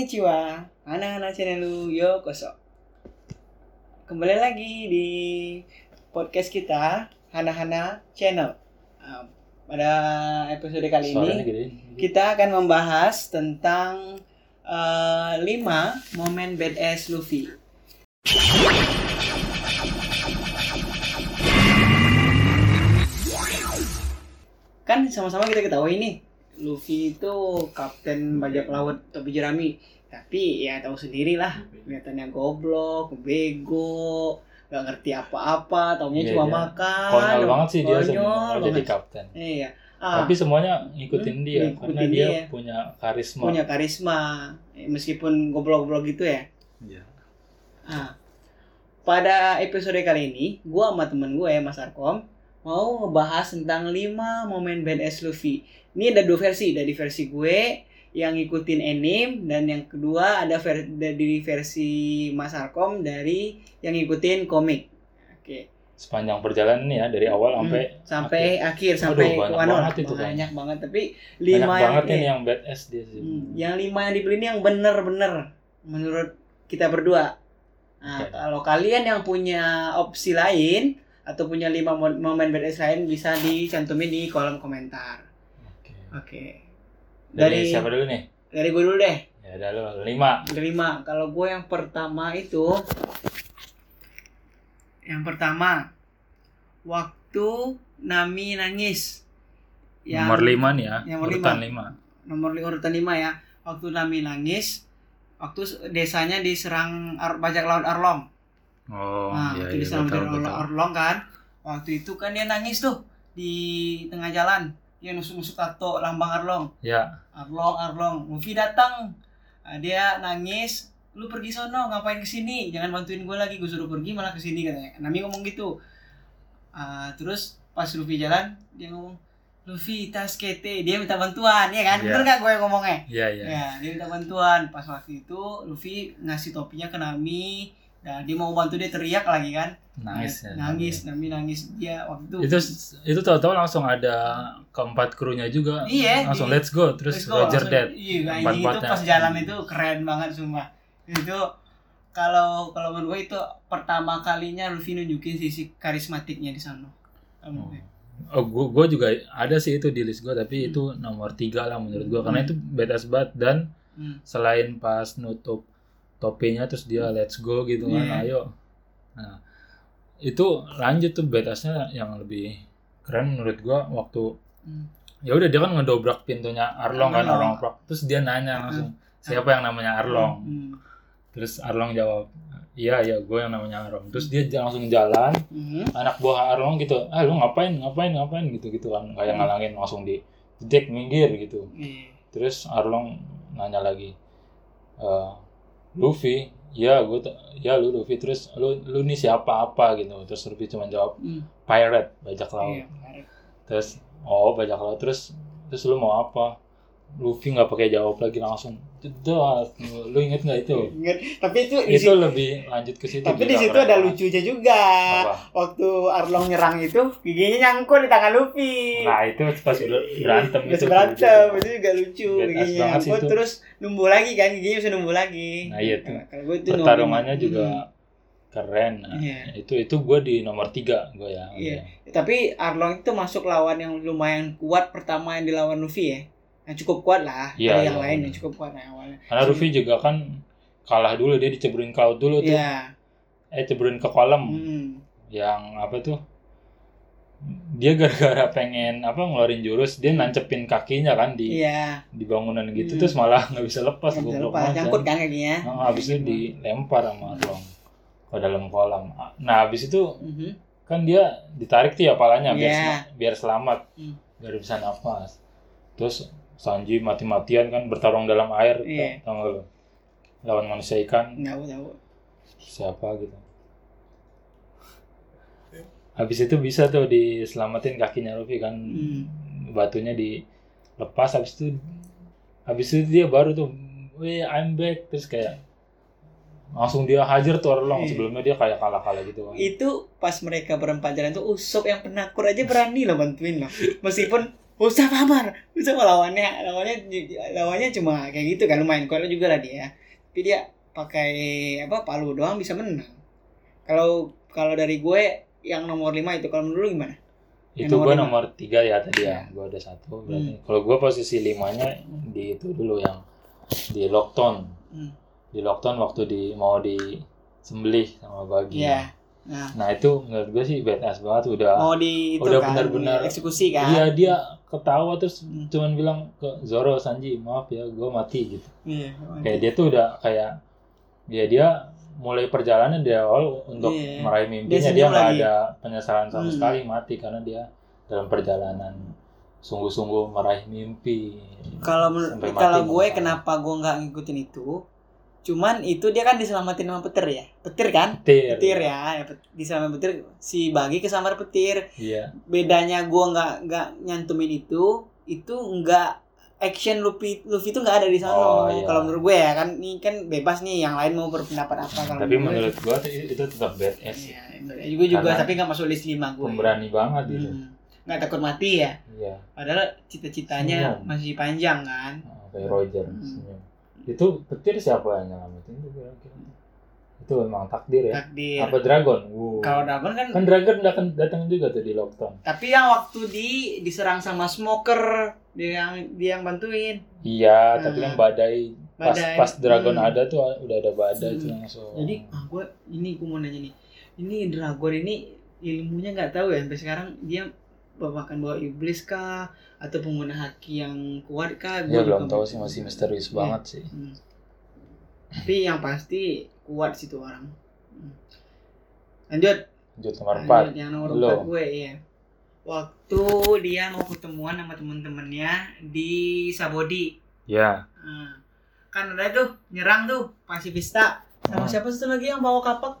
Konnichiwa, anak-anak channel yo kosok. Kembali lagi di podcast kita, Hana-Hana Channel. Ah, Pada episode kali ini, Suaranya gede. kita akan membahas tentang 5 momen badass Luffy. Kan sama-sama kita ketahui nih, Luffy itu kapten bajak laut topi jerami. Tapi ya tahu sendiri lah, kelihatannya goblok, bego, gak ngerti apa-apa, taunya Iya, cuma iya. makan. Konyol banget sih dia konyol sebenarnya banget. jadi kapten. Iya. Ah. Tapi semuanya ngikutin Hmm, dia ngikutin karena dia, dia. punya karisma. punya karisma eh, meskipun goblok-goblok gitu ya. Iya. Nah, pada episode kali ini, gue sama temen gue Mas Arkom mau ngebahas tentang 5 momen badass Luffy. Ini ada dua versi, dari versi gue yang ngikutin anime dan yang kedua ada ver- dari versi Mas Arkom dari yang ngikutin komik. Oke, Sepanjang perjalanan nih ya dari Hmm, awal sampai sampai akhir sampai Aduh, banyak Wano lah. banget itu, Bang. banyak banget tapi banyak lima yang banget ini yang badass dia sih. Hmm, yang lima yang dibeli ini yang bener-bener menurut kita berdua. Nah, Oke. kalau kalian yang punya opsi lain atau punya lima mo- momen BDS lain bisa dicantumin di kolom komentar. Oke. Oke. Dari Dari, dari, siapa dulu nih? gue dulu deh. Ya ada lo lima. Lima. Kalau gue yang pertama itu yang pertama waktu Nami nangis. Yang- Nomor lima nih ya. yang nomor urutan lima. nomor li- urutan 5 ya waktu Nami nangis waktu s- desanya diserang ar- bajak laut Arlong Oh, nah iya, waktu iya, diserang betul, bajak laut betul. Arlong kan waktu itu kan dia nangis tuh di tengah jalan dia nusuk-nusuk tato lambang Arlong Ya, Arlong Arlong Luffy datang Ah, dia nangis lu pergi sono ngapain kesini jangan bantuin gue lagi gue suruh pergi malah kesini katanya Nami ngomong gitu Ah, terus pas Luffy jalan dia ngomong Luffy tas kete dia minta bantuan ya kan Iya. bener gak gue ngomongnya iya, iya. Ya, dia minta bantuan. Pas waktu itu Luffy ngasih topinya ke Nami. Dan dia mau bantu dia teriak lagi kan. Nangis. ya, Nangis, Nami nangis dia waktu itu. Itu itu tahu-tahu langsung ada keempat krunya juga. Iya, Langsung di- let's go terus Let's go, Roger langsung- Dead. ya. Iya, anjing itu Empat-empatnya. pas jalan itu keren banget sumpah. Itu kalau kalau menurut gue itu pertama kalinya Luffy nunjukin sisi karismatiknya di sana. Kalau menurut gue. Oh, gua, gua juga ada sih itu di list gua ya? tapi Hmm. itu nomor tiga lah menurut gua karena Hmm. itu badass banget dan Hmm. selain pas nutup topinya terus dia let's go gitu kan Iya. ayo nah itu lanjut tuh badassnya yang lebih keren menurut gua waktu Hmm. ya udah dia kan ngedobrak pintunya Arlong kan Arlong. Arlong Prok terus dia nanya langsung siapa yang namanya Arlong Hmm. terus Arlong jawab iya ya gue yang namanya Arlong terus dia langsung jalan Hmm. anak buah Arlong gitu ah lu ngapain ngapain ngapain gitu gitu kan kayak Hmm. ngalangin langsung di jedek minggir gitu Iya. terus Arlong nanya lagi "Eh, Luffy ya gue ya lu Luffy terus lu lu nih siapa apa gitu terus Luffy cuma jawab Hmm. pirate bajak laut Iya, menarik. terus oh bajak laut terus terus lu mau apa Luffy nggak pakai jawab lagi langsung jedot lu inget nggak itu Ingat, Tapi itu, di itu situ- lebih lanjut ke situ tapi di gila, situ keren ada banget. lucunya juga. Apa? waktu Arlong nyerang itu giginya nyangkut di tangan Luffy. nah itu pas ber- berantem Terus itu berantem itu juga lucu Badass giginya banget sih nyangkut itu. terus numbuh lagi kan giginya bisa numbuh lagi. Nah, iya tuh. Kalau gue itu pertarungannya nomor- juga keren Nah, Iya. itu itu gue di nomor tiga gue ya Iya. Hmm. Tapi Arlong itu masuk lawan yang lumayan kuat pertama yang dilawan Luffy ya. Yang cukup kuat lah. Dari Iya, yang iya, lain iya. yang cukup kuat nah, awalnya. karena Luffy juga kan kalah dulu dia diceburin ke laut dulu tuh Iya. eh ceburin ke kolam Hmm. yang apa tuh dia gara-gara pengen apa ngeluarin jurus dia nancepin kakinya kan di Iya. di bangunan gitu Hmm. terus malah nggak bisa lepas Yang goblok terlepas banget kan. nyangkut kan Iya. kakinya. Nah, habis itu dilempar sama Arlong ke dalam kolam nah habis itu Mhm. kan dia ditarik tuh ya palanya biar Iya. sel- biar selamat Hmm. biar bisa nafas terus Sanji mati-matian kan bertarung dalam air Iya. tau nggak lu? lawan manusia ikan Nggak tahu. siapa gitu habis itu bisa tuh diselamatin kakinya Luffy kan Hmm. batunya dilepas habis itu habis itu dia baru tuh weh I'm back terus kayak langsung dia hajar tuh Arlong Iya. sebelumnya dia kayak kalah-kalah gitu kan "Uh, itu pas mereka berempat jalan tuh Usop yang penakut aja berani loh bantuin loh meskipun "Uh, Usah Amar Usah lawannya lawannya lawannya cuma kayak gitu kan lumayan kuat juga lah dia tapi dia pakai apa palu doang bisa menang kalau kalau dari gue yang nomor 5 itu kalau menurut lu gimana itu nomor gue lima. Iya. Hmm. nomor tiga ya tadi ya gue ada satu berarti kalau gue posisi limanya di itu dulu yang di lockdown Hmm. di lockdown waktu di mau disembelih sama bagi Iya. Nah. nah itu menurut gue sih badass banget udah mau di itu Udah kan benar-benar- eksekusi kan iya dia ketawa terus Hmm. cuman bilang ke Zoro Sanji maaf ya gue mati gitu Iya, kayak dia tuh udah kayak dia dia mulai perjalanan dari awal untuk Iya. meraih mimpinya senyum dia nggak lagi. ada penyesalan sama Hmm. sekali mati karena dia dalam perjalanan sungguh-sungguh meraih mimpi kalau menur- Sampai mati kalau nggak gue masalah. kenapa gue nggak ngikutin itu cuman itu dia kan diselamatin sama petir ya petir kan petir, petir ya, ya pet- diselamatin petir si bagi kesambar petir iya bedanya gue nggak nggak nyantumin itu itu nggak action Luffy Luffy itu nggak ada di sana Oh, iya. kalau menurut gue ya kan ini kan bebas nih yang lain mau berpendapat apa kalau tapi menurut gua tuh itu itu tetap badass sih. Iya, gue juga Karena tapi nggak masuk list lima gue pemberani banget gitu Hmm. nggak takut mati ya iya padahal cita-citanya Senyum. masih panjang kan Oh, kayak Roger Hmm. senyum. itu petir siapa yang nyelamatin itu kira-kira itu memang takdir ya takdir apa dragon Wuh. kalau Dragon kan kan dragon datang datang juga tuh di lockdown tapi yang waktu di diserang sama smoker dia yang dia yang bantuin Iya, tapi Hmm. kan badai pas Badai. pas dragon Hmm. ada tuh udah ada badai tuh Hmm. langsung. jadi ah gue ini gue mau nanya nih ini Dragon ini ilmunya nggak tahu ya sampai sekarang dia bahkan bawa iblis kah atau pengguna haki yang kuat kah ya Gua belum juga- tahu sih masih misterius Iya. banget sih. Hmm. tapi yang pasti kuat sih tuh orang Hmm. lanjut Lanjut nomor empat. Lanjut, Yang nomor Lo. empat gue iya. Waktu dia mau ketemuan sama temen-temennya di Sabodi. Ya. Hmm. Kan udah tuh nyerang tuh pasifista. Sama Hmm. siapa satu lagi yang bawa kapak?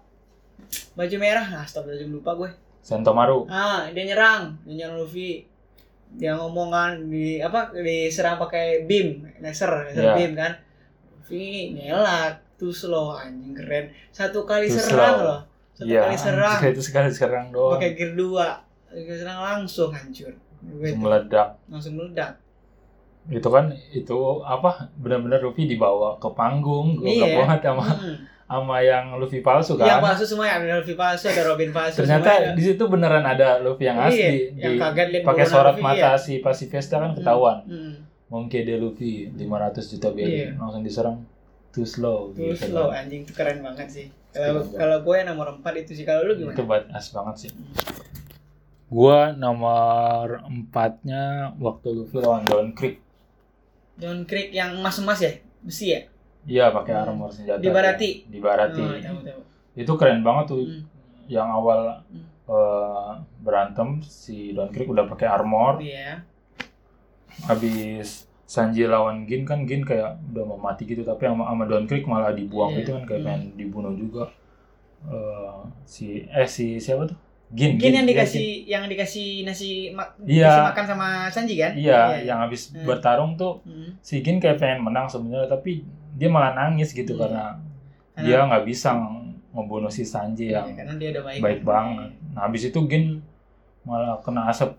Baju merah. Nah, stop aja lupa gue. Sentomaru. Ah, dia nyerang, dia nyerang Luffy. Dia ngomongan di apa diserang pakai beam, laser, laser Iya. beam kan. Luffy nyelak, tuh slow anjing keren. Satu kali Too serang slow. loh. Satu kali serang anjing, Itu Iya. sekali serang doang. pakai gear 2 gear serang langsung hancur Gue Langsung tuh Meledak. langsung meledak Itu kan itu apa? Benar-benar Luffy dibawa ke panggung. Gue Iya. banget sama hmm. sama yang Luffy palsu kan. yang palsu semua ya ada Luffy palsu ada Robin palsu Ternyata semua ya. di situ beneran ada Luffy yang Iya, asli. yang Di- kaget lihat pakai bangunan sorot Luffy, mata iya. si Pasifesta kan Hmm. ketahuan. Hmm. Mungkin dia Luffy 500 juta BN Iya. langsung diserang too slow Tuh gitu slow kan. anjing tuh keren banget sih kalau Keren banget. kalau gue nomor 4 itu sih kalau lu itu gimana badass banget sih gua nomor empatnya waktu Luffy lawan Don Creek John Creek yang emas-emas ya besi ya iya pakai Hmm. armor senjata Di Barati. di Barati Oh, tahu tahu itu keren banget tuh Hmm. yang awal Hmm. eh, berantem si Don Creek udah pakai armor iya habis Sanji lawan Gin kan Gin kayak udah mau mati gitu tapi sama, sama Don Creek malah dibuang Iya. gitu kan kayak Hmm. pengen dibunuh juga Eh, si eh si siapa tuh Gin mungkin yang Iya, dikasih yang dikasih nasi mak Iya. dikasih makan sama Sanji kan Iya, yang habis Hmm. bertarung tuh Hmm. si Gin kayak pengen menang sebenarnya tapi dia malah nangis Iya. gitu karena Karena- dia nggak bisa ng- ngebunuh si Sanji Iya, yang karena dia udah baik baik banget. Nah, habis itu Gin malah kena asap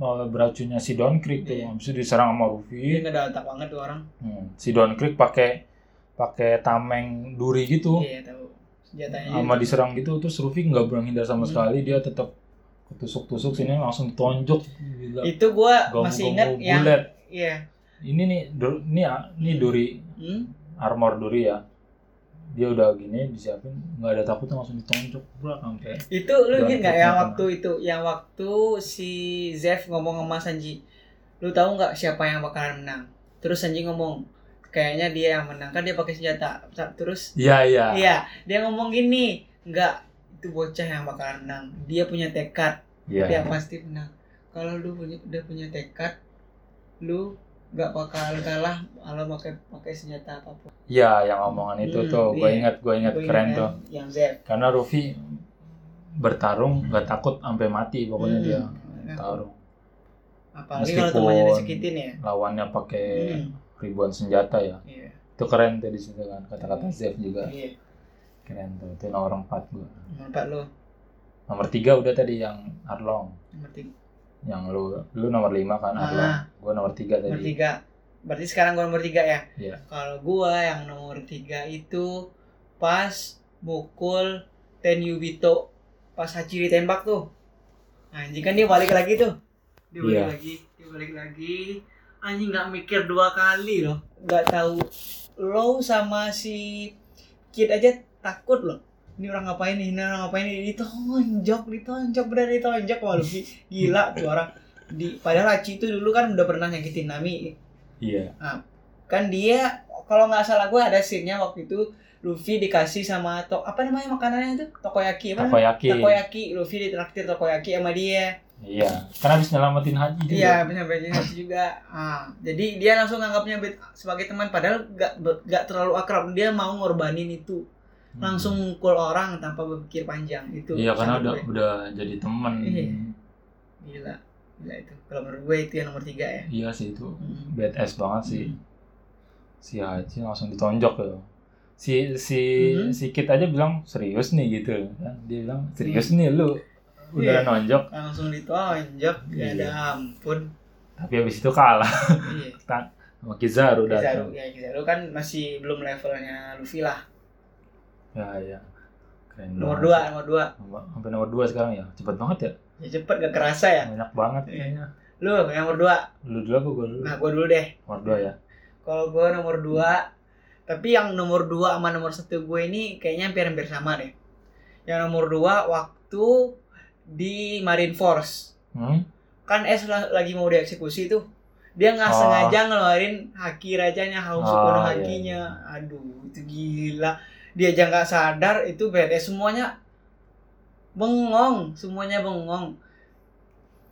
eh, beracunnya si Don Creek tuh. Iya. Habis itu diserang sama dia Luffy. nggak ada otak banget tuh orang Hmm, Si Don Creek pakai pakai tameng duri gitu iya tahu senjatanya sama diserang gitu terus Luffy nggak berani hindar sama Hmm. sekali dia tetap ketusuk-tusuk sini langsung ditonjok Gila. itu gua Gong- masih gong- ingat gong yang bulat. iya Ini nih, dur- ini ya, ini duri hmm? armor duri ya dia udah gini disiapin nggak ada takutnya langsung ditonjok bro sampai itu lu Dalam inget nggak yang perut makanan. waktu itu yang waktu si Zef ngomong sama Sanji lu tahu nggak siapa yang bakalan menang terus Sanji ngomong kayaknya dia yang menang kan dia pakai senjata terus iya iya iya dia ngomong gini nggak itu bocah yang bakalan menang dia punya tekad dia iya pasti menang kalau lu punya, udah punya tekad lu nggak bakal kalah kalau pakai pakai senjata apapun iya yang omongan itu Hmm, tuh gue iya. ingat gue ingat Gua keren ingat tuh yang Zep karena Ruffy bertarung nggak takut sampai mati pokoknya Hmm. dia Nah, tarung apalagi kalau temannya Meskipun- Iya. disakitin ya lawannya pakai Hmm, ribuan senjata ya iya itu keren tuh di situ kan kata-kata Zef juga iya keren tuh itu nomor empat gue nomor empat lo nomor tiga udah tadi yang Arlong nomor tiga yang lu lu nomor lima kan Ah. Arlan gue nomor tiga nomor tadi tiga berarti sekarang gua nomor tiga ya Iya. kalau gua yang nomor tiga itu pas mukul Ten Yubito pas Hachi ditembak tuh anjing kan dia balik lagi tuh dia balik Iya. lagi dia balik lagi anjing nggak mikir dua kali loh nggak tahu lo sama si kid aja takut loh ini orang ngapain nih, ini orang ngapain nih, ditonjok, ditonjok, bener ditonjok, wah Luffy gila tuh orang. Di, padahal Hachi itu dulu kan udah pernah nyakitin Nami, iya kan dia kalau nggak salah gue ada scene-nya waktu itu Luffy dikasih sama to apa namanya makanannya itu tokoyaki apa namanya? takoyaki tokoyaki Luffy ditraktir tokoyaki sama dia iya karena habis nyelamatin Haji juga iya benar benar juga ah, jadi dia langsung nganggapnya bet- sebagai teman padahal nggak be- nggak terlalu akrab dia mau ngorbanin itu Hmm. langsung mukul orang tanpa berpikir panjang itu iya karena saran udah gue. udah jadi teman Iya. gila gila itu kalau menurut gue itu yang nomor tiga ya iya sih itu Hmm. badass banget sih si Haji langsung ditonjok ya si si Mhm. si Kit aja bilang serius nih gitu kan dia bilang serius Hmm. nih lu udah Iya. nonjok langsung ditonjok ya Iya. ampun tapi habis itu kalah iya sama Kizaru, Kizaru datang ya Kizaru kan masih belum levelnya Luffy lah. ya ya keren Nomor 2, banget. nomor dua sampai nomor dua sekarang ya cepet banget ya Ya cepet gak kerasa ya. banyak banget Iya. kayaknya Lu yang nomor 2. lu dulu apa gue dulu Nah, gua dulu deh. nomor dua ya Kalau gua nomor 2, tapi yang nomor 2 sama nomor 1 gue ini kayaknya hampir-hampir sama deh. Yang nomor 2 waktu di Marine Force. hmm? Kan S la- lagi mau dieksekusi tuh. Dia nggak Oh. sengaja ngeluarin haki rajanya, haus Oh, oh, iya, hakinya. Aduh, itu gila. Dia aja nggak sadar itu BTS semuanya bengong semuanya bengong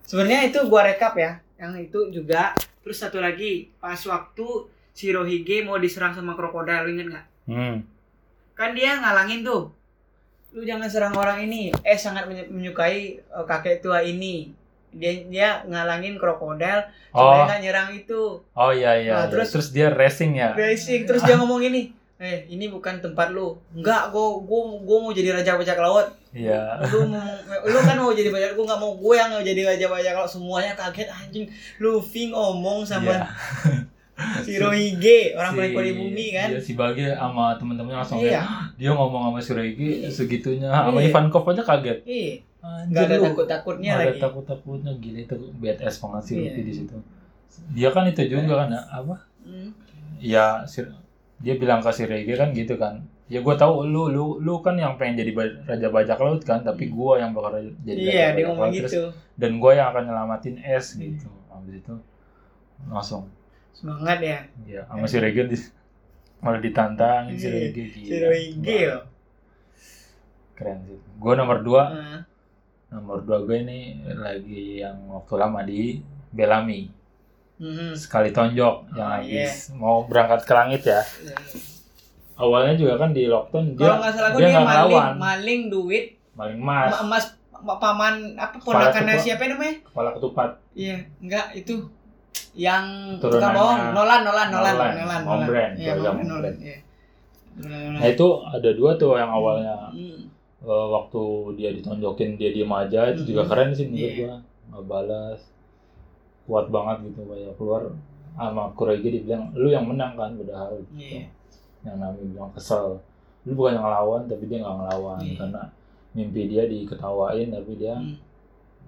sebenarnya itu gua rekap ya yang itu juga terus satu lagi pas waktu si Rohige mau diserang sama krokodil lu inget nggak hmm. kan dia ngalangin tuh lu jangan serang orang ini eh sangat menye- menyukai eh, kakek tua ini dia dia ngalangin krokodil supaya oh nggak nyerang itu oh iya ya kan? Nah, iya iya. terus- Iya. terus dia racing ya basic terus dia ngomong ini eh ini bukan tempat lu nggak gua gua gua mau jadi raja bajak laut iya lu mau lu kan mau jadi bajak gue nggak mau gue yang mau jadi raja bajak kalau semuanya kaget anjing Luffy ngomong Iya. sama si Rohige orang paling kuat di bumi kan Iya, si Bagi sama temen-temennya langsung iya kayak, dia ngomong sama Suregi Iya. segitunya sama Iya. Ivankov aja kaget iya nggak Anjir ada lu. takut takutnya Nggak ada lagi takut-takutnya gila itu badass banget sih Iya. Luffy di situ. Dia kan itu juga kan ya, apa? Hmm. Ya si- dia bilang ke si Rege kan gitu kan. Ya gua tahu lu lu lu kan yang pengen jadi ba- raja bajak laut kan, tapi gua yang bakal raja- jadi Hmm. iya raja dia bajak ngomong laut terus- gitu dan gua yang akan nyelamatin Iya. es gitu. Habis itu langsung semangat ya ya sama si Rege di, malah ditantangin si Iya, Rege si gila. Rohige loh Keren sih. Gua nomor dua Nah, nomor dua gue ini lagi yang waktu lama di Bellamy. mhm. sekali tonjok yang Oh, habis mau berangkat ke langit ya awalnya juga kan di lockdown dia kalau nggak salah gue dia dia nggak maling ngelawan. maling duit maling ma- emas emas ma- paman apa Kepala ponakannya ketua- siapa namanya kepala ketupat Iya, enggak itu yang Turunannya. tukang bohong, Nolan, Nolan, Nolan, Nolan, Nolan, Mom Brand, Iya, keluarga Mom Mom Nolan, Brand. iya. nah itu ada dua tuh yang awalnya Hmm. eh, waktu dia ditonjokin dia diem aja itu juga Mhm. keren sih menurut Iya. gua nggak balas kuat banget gitu kayak keluar sama Kuregi dibilang lu yang menang kan padahal gitu. Iya. yang Nami bilang kesel lu bukan yang ngelawan tapi dia nggak ngelawan Iya. karena mimpi dia diketawain tapi dia Hmm.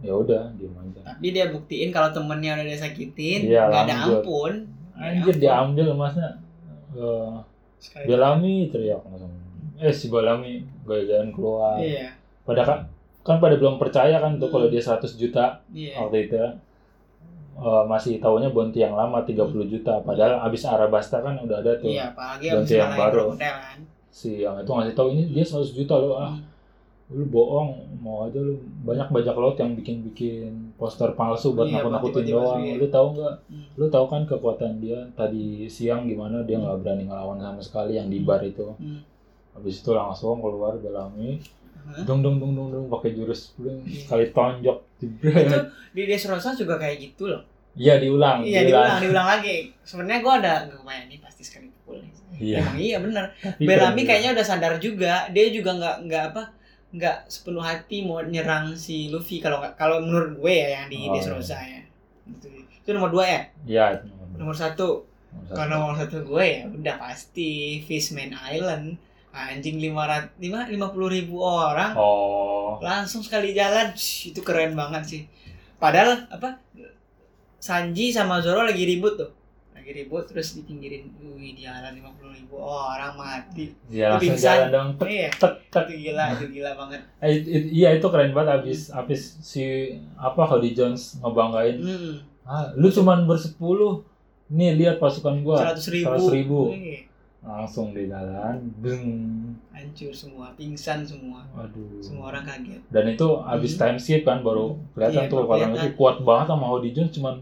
ya udah diem aja Tapi dia buktiin kalau temennya udah dia sakitin, Iya, nggak ada lanjut. ampun. Anjir Ya, diambil emasnya. Eh, sekali- Belami teriak langsung. Eh si Belami gaya-gayaan keluar. Iya, Pada kan, kan pada belum percaya kan tuh Hmm. kalau dia 100 juta iya. waktu itu. Eh, masih tahunya bonti yang lama 30 juta padahal abis Arabasta kan udah ada tuh Iya, apalagi Ganti abis yang ngalahin baru. krokodil kan. si yang itu ngasih tahu ini dia 100 juta loh ah Hmm. lu bohong mau aja lu banyak bajak laut yang bikin bikin poster palsu buat Iya, buat nakut-nakutin tiba-tiba doang sih, iya. lu tahu nggak Hmm. lu tahu kan kekuatan dia tadi siang gimana dia nggak berani ngelawan sama sekali yang di bar itu Hmm. habis itu langsung keluar Belami Hah? Iya. dong dong dong dong dong pakai jurus bling, sekali tonjok Itu jebret. di Des Rosa juga kayak gitu loh. iya diulang Iya, diulang, diulang lagi. Sebenarnya gue ada lumayan nih pasti sekali pukul nih. iya Emang iya bener. Tapi Bellamy keren. kayaknya udah sadar juga, dia juga nggak nggak apa nggak sepenuh hati mau nyerang si Luffy kalau nggak- kalau menurut gue ya yang di Oh, Dressrosa ya. Gitu. Itu nomor dua ya. Iya. itu nomor dua. Nomor satu Nomor satu. kalau nomor satu gue ya udah pasti Fishman Island anjing lima rat lima puluh ribu orang Oh. langsung sekali jalan Shh, itu keren banget sih. Padahal apa Sanji sama Zoro lagi ribut tuh lagi ribut terus dipinggirin wih di jalan lima puluh ribu Oh, orang mati Ya langsung Pingsan. jalan dong. Tek, iya tek, tek. itu gila itu gila banget Eh, it- it- iya itu keren banget abis abis si apa Cody Jones ngebanggain. hmm. Ah, lu cuman bersepuluh. Nih lihat pasukan gua. seratus ribu. 100.000. Iya, Langsung di jalan. Beng. hancur semua, pingsan semua, Waduh. semua orang kaget. Dan itu abis Mhm. time skip kan baru Iya, kelihatan tuh baru orang kelihatan. itu kuat banget sama Cody Jones cuman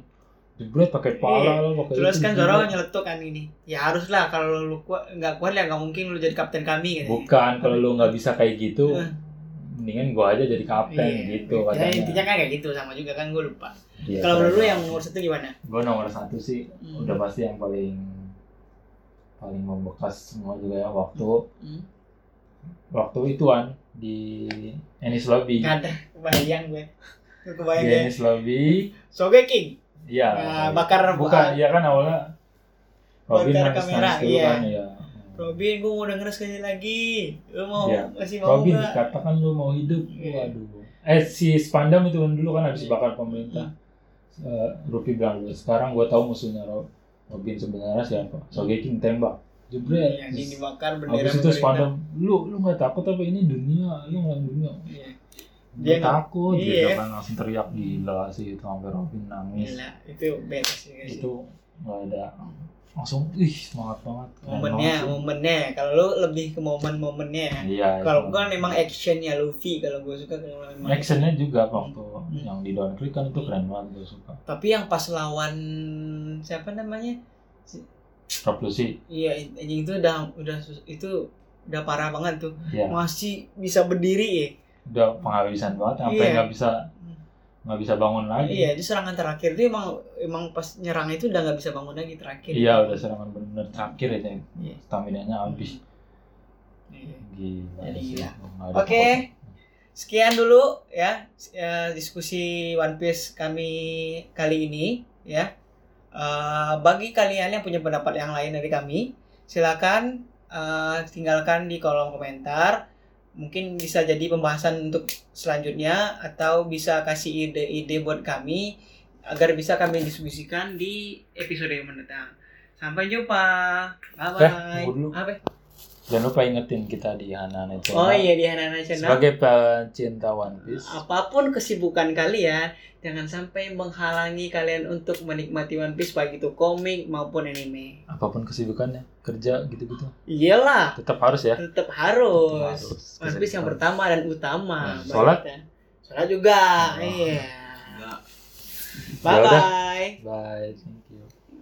jebret pakai Iya. pala lah pakai Terus itu, kan jebret. Zoro nyeletuk kan ini, ya haruslah kalau lu kuat nggak kuat ya nggak mungkin lu jadi kapten kami gitu. Bukan kalau lu nggak bisa kayak gitu, Hah. mendingan gua aja jadi kapten gitu Ya, katanya. intinya kan kayak gitu sama juga kan gue lupa. Iya, kalau keren lu yang banget. nomor satu gimana? gua nomor satu sih Hmm. udah pasti yang paling paling membekas semua juga ya waktu Hmm. waktu ituan di Ennis Lobby. Nggak ada, kebayang gue. Gue Di kebayang ya. Ennis Lobby, Sogeking, iya. Nah, bakar Bukan, iya kan awalnya Robin Bakar nangis kamera, nangis dulu iya. kan, iya. Robin, gue mau denger sekali lagi. Lu mau Iya. masih mau Robin nggak? dikatakan lu mau hidup, Iya. waduh. Eh si Spandam itu dulu kan habis Iya. bakar pemerintah. Eh, Rupi bilang dulu, sekarang gue tahu musuhnya Rob. Robin sebenarnya siapa? Sogeking tembak. Jebret. Iya, Yang ini dibakar bendera Habis itu pemerintah. Spandam, lu lu nggak takut apa ini dunia? Lu nggak dunia? Iya. Dia Dia nggak- takut, Iya. dia kan langsung teriak gila sih itu sampai Robin nangis. Gila, itu best sih. guys. Itu nggak ada langsung ih semangat banget. Keren momennya banget sih. momennya kalau lu lebih ke momen-momennya ya. Nah, Iya. kalau itu. gue memang actionnya Luffy kalau gue suka kalau memang actionnya juga waktu Hmm. yang di Don Creek kan itu keren banget gue suka. tapi yang pas lawan siapa namanya Rob Lucy, iya anjing itu udah udah sus- itu udah parah banget tuh ya masih bisa berdiri ya udah penghabisan banget sampai Iya. Hmm. nggak bisa nggak bisa bangun lagi. iya itu serangan terakhir itu emang emang pas nyerang itu udah nggak bisa bangun lagi terakhir Iya, udah serangan benar terakhir itu Iya. stamina nya habis. Hmm. Iya. Gila. Jadi sih. gila. Nggak ada Oke. sekian dulu ya s- eh, diskusi One Piece kami kali ini ya. Eh, bagi kalian yang punya pendapat yang lain dari kami, silakan eh, tinggalkan di kolom komentar. Mungkin bisa jadi pembahasan untuk selanjutnya atau bisa kasih ide-ide buat kami agar bisa kami diskusikan di episode yang mendatang. Sampai jumpa. Bye Eh, bye. tunggu dulu. Apa? Jangan lupa ingetin kita di Hanana Channel. Oh iya di Hanana Channel. Ah. Sebagai pecinta One Piece. apapun kesibukan kalian, jangan sampai menghalangi kalian untuk menikmati One Piece baik itu komik maupun anime. Apapun kesibukannya, kerja gitu-gitu, Iyalah, tetap harus ya. tetap Tetap harus. harus. One Piece yang Kesibukan. pertama dan utama. Nah, sholat? Baik, ya. Sholat juga. Oh. Iya. Ya Bye udah. bye. Bye, thank you.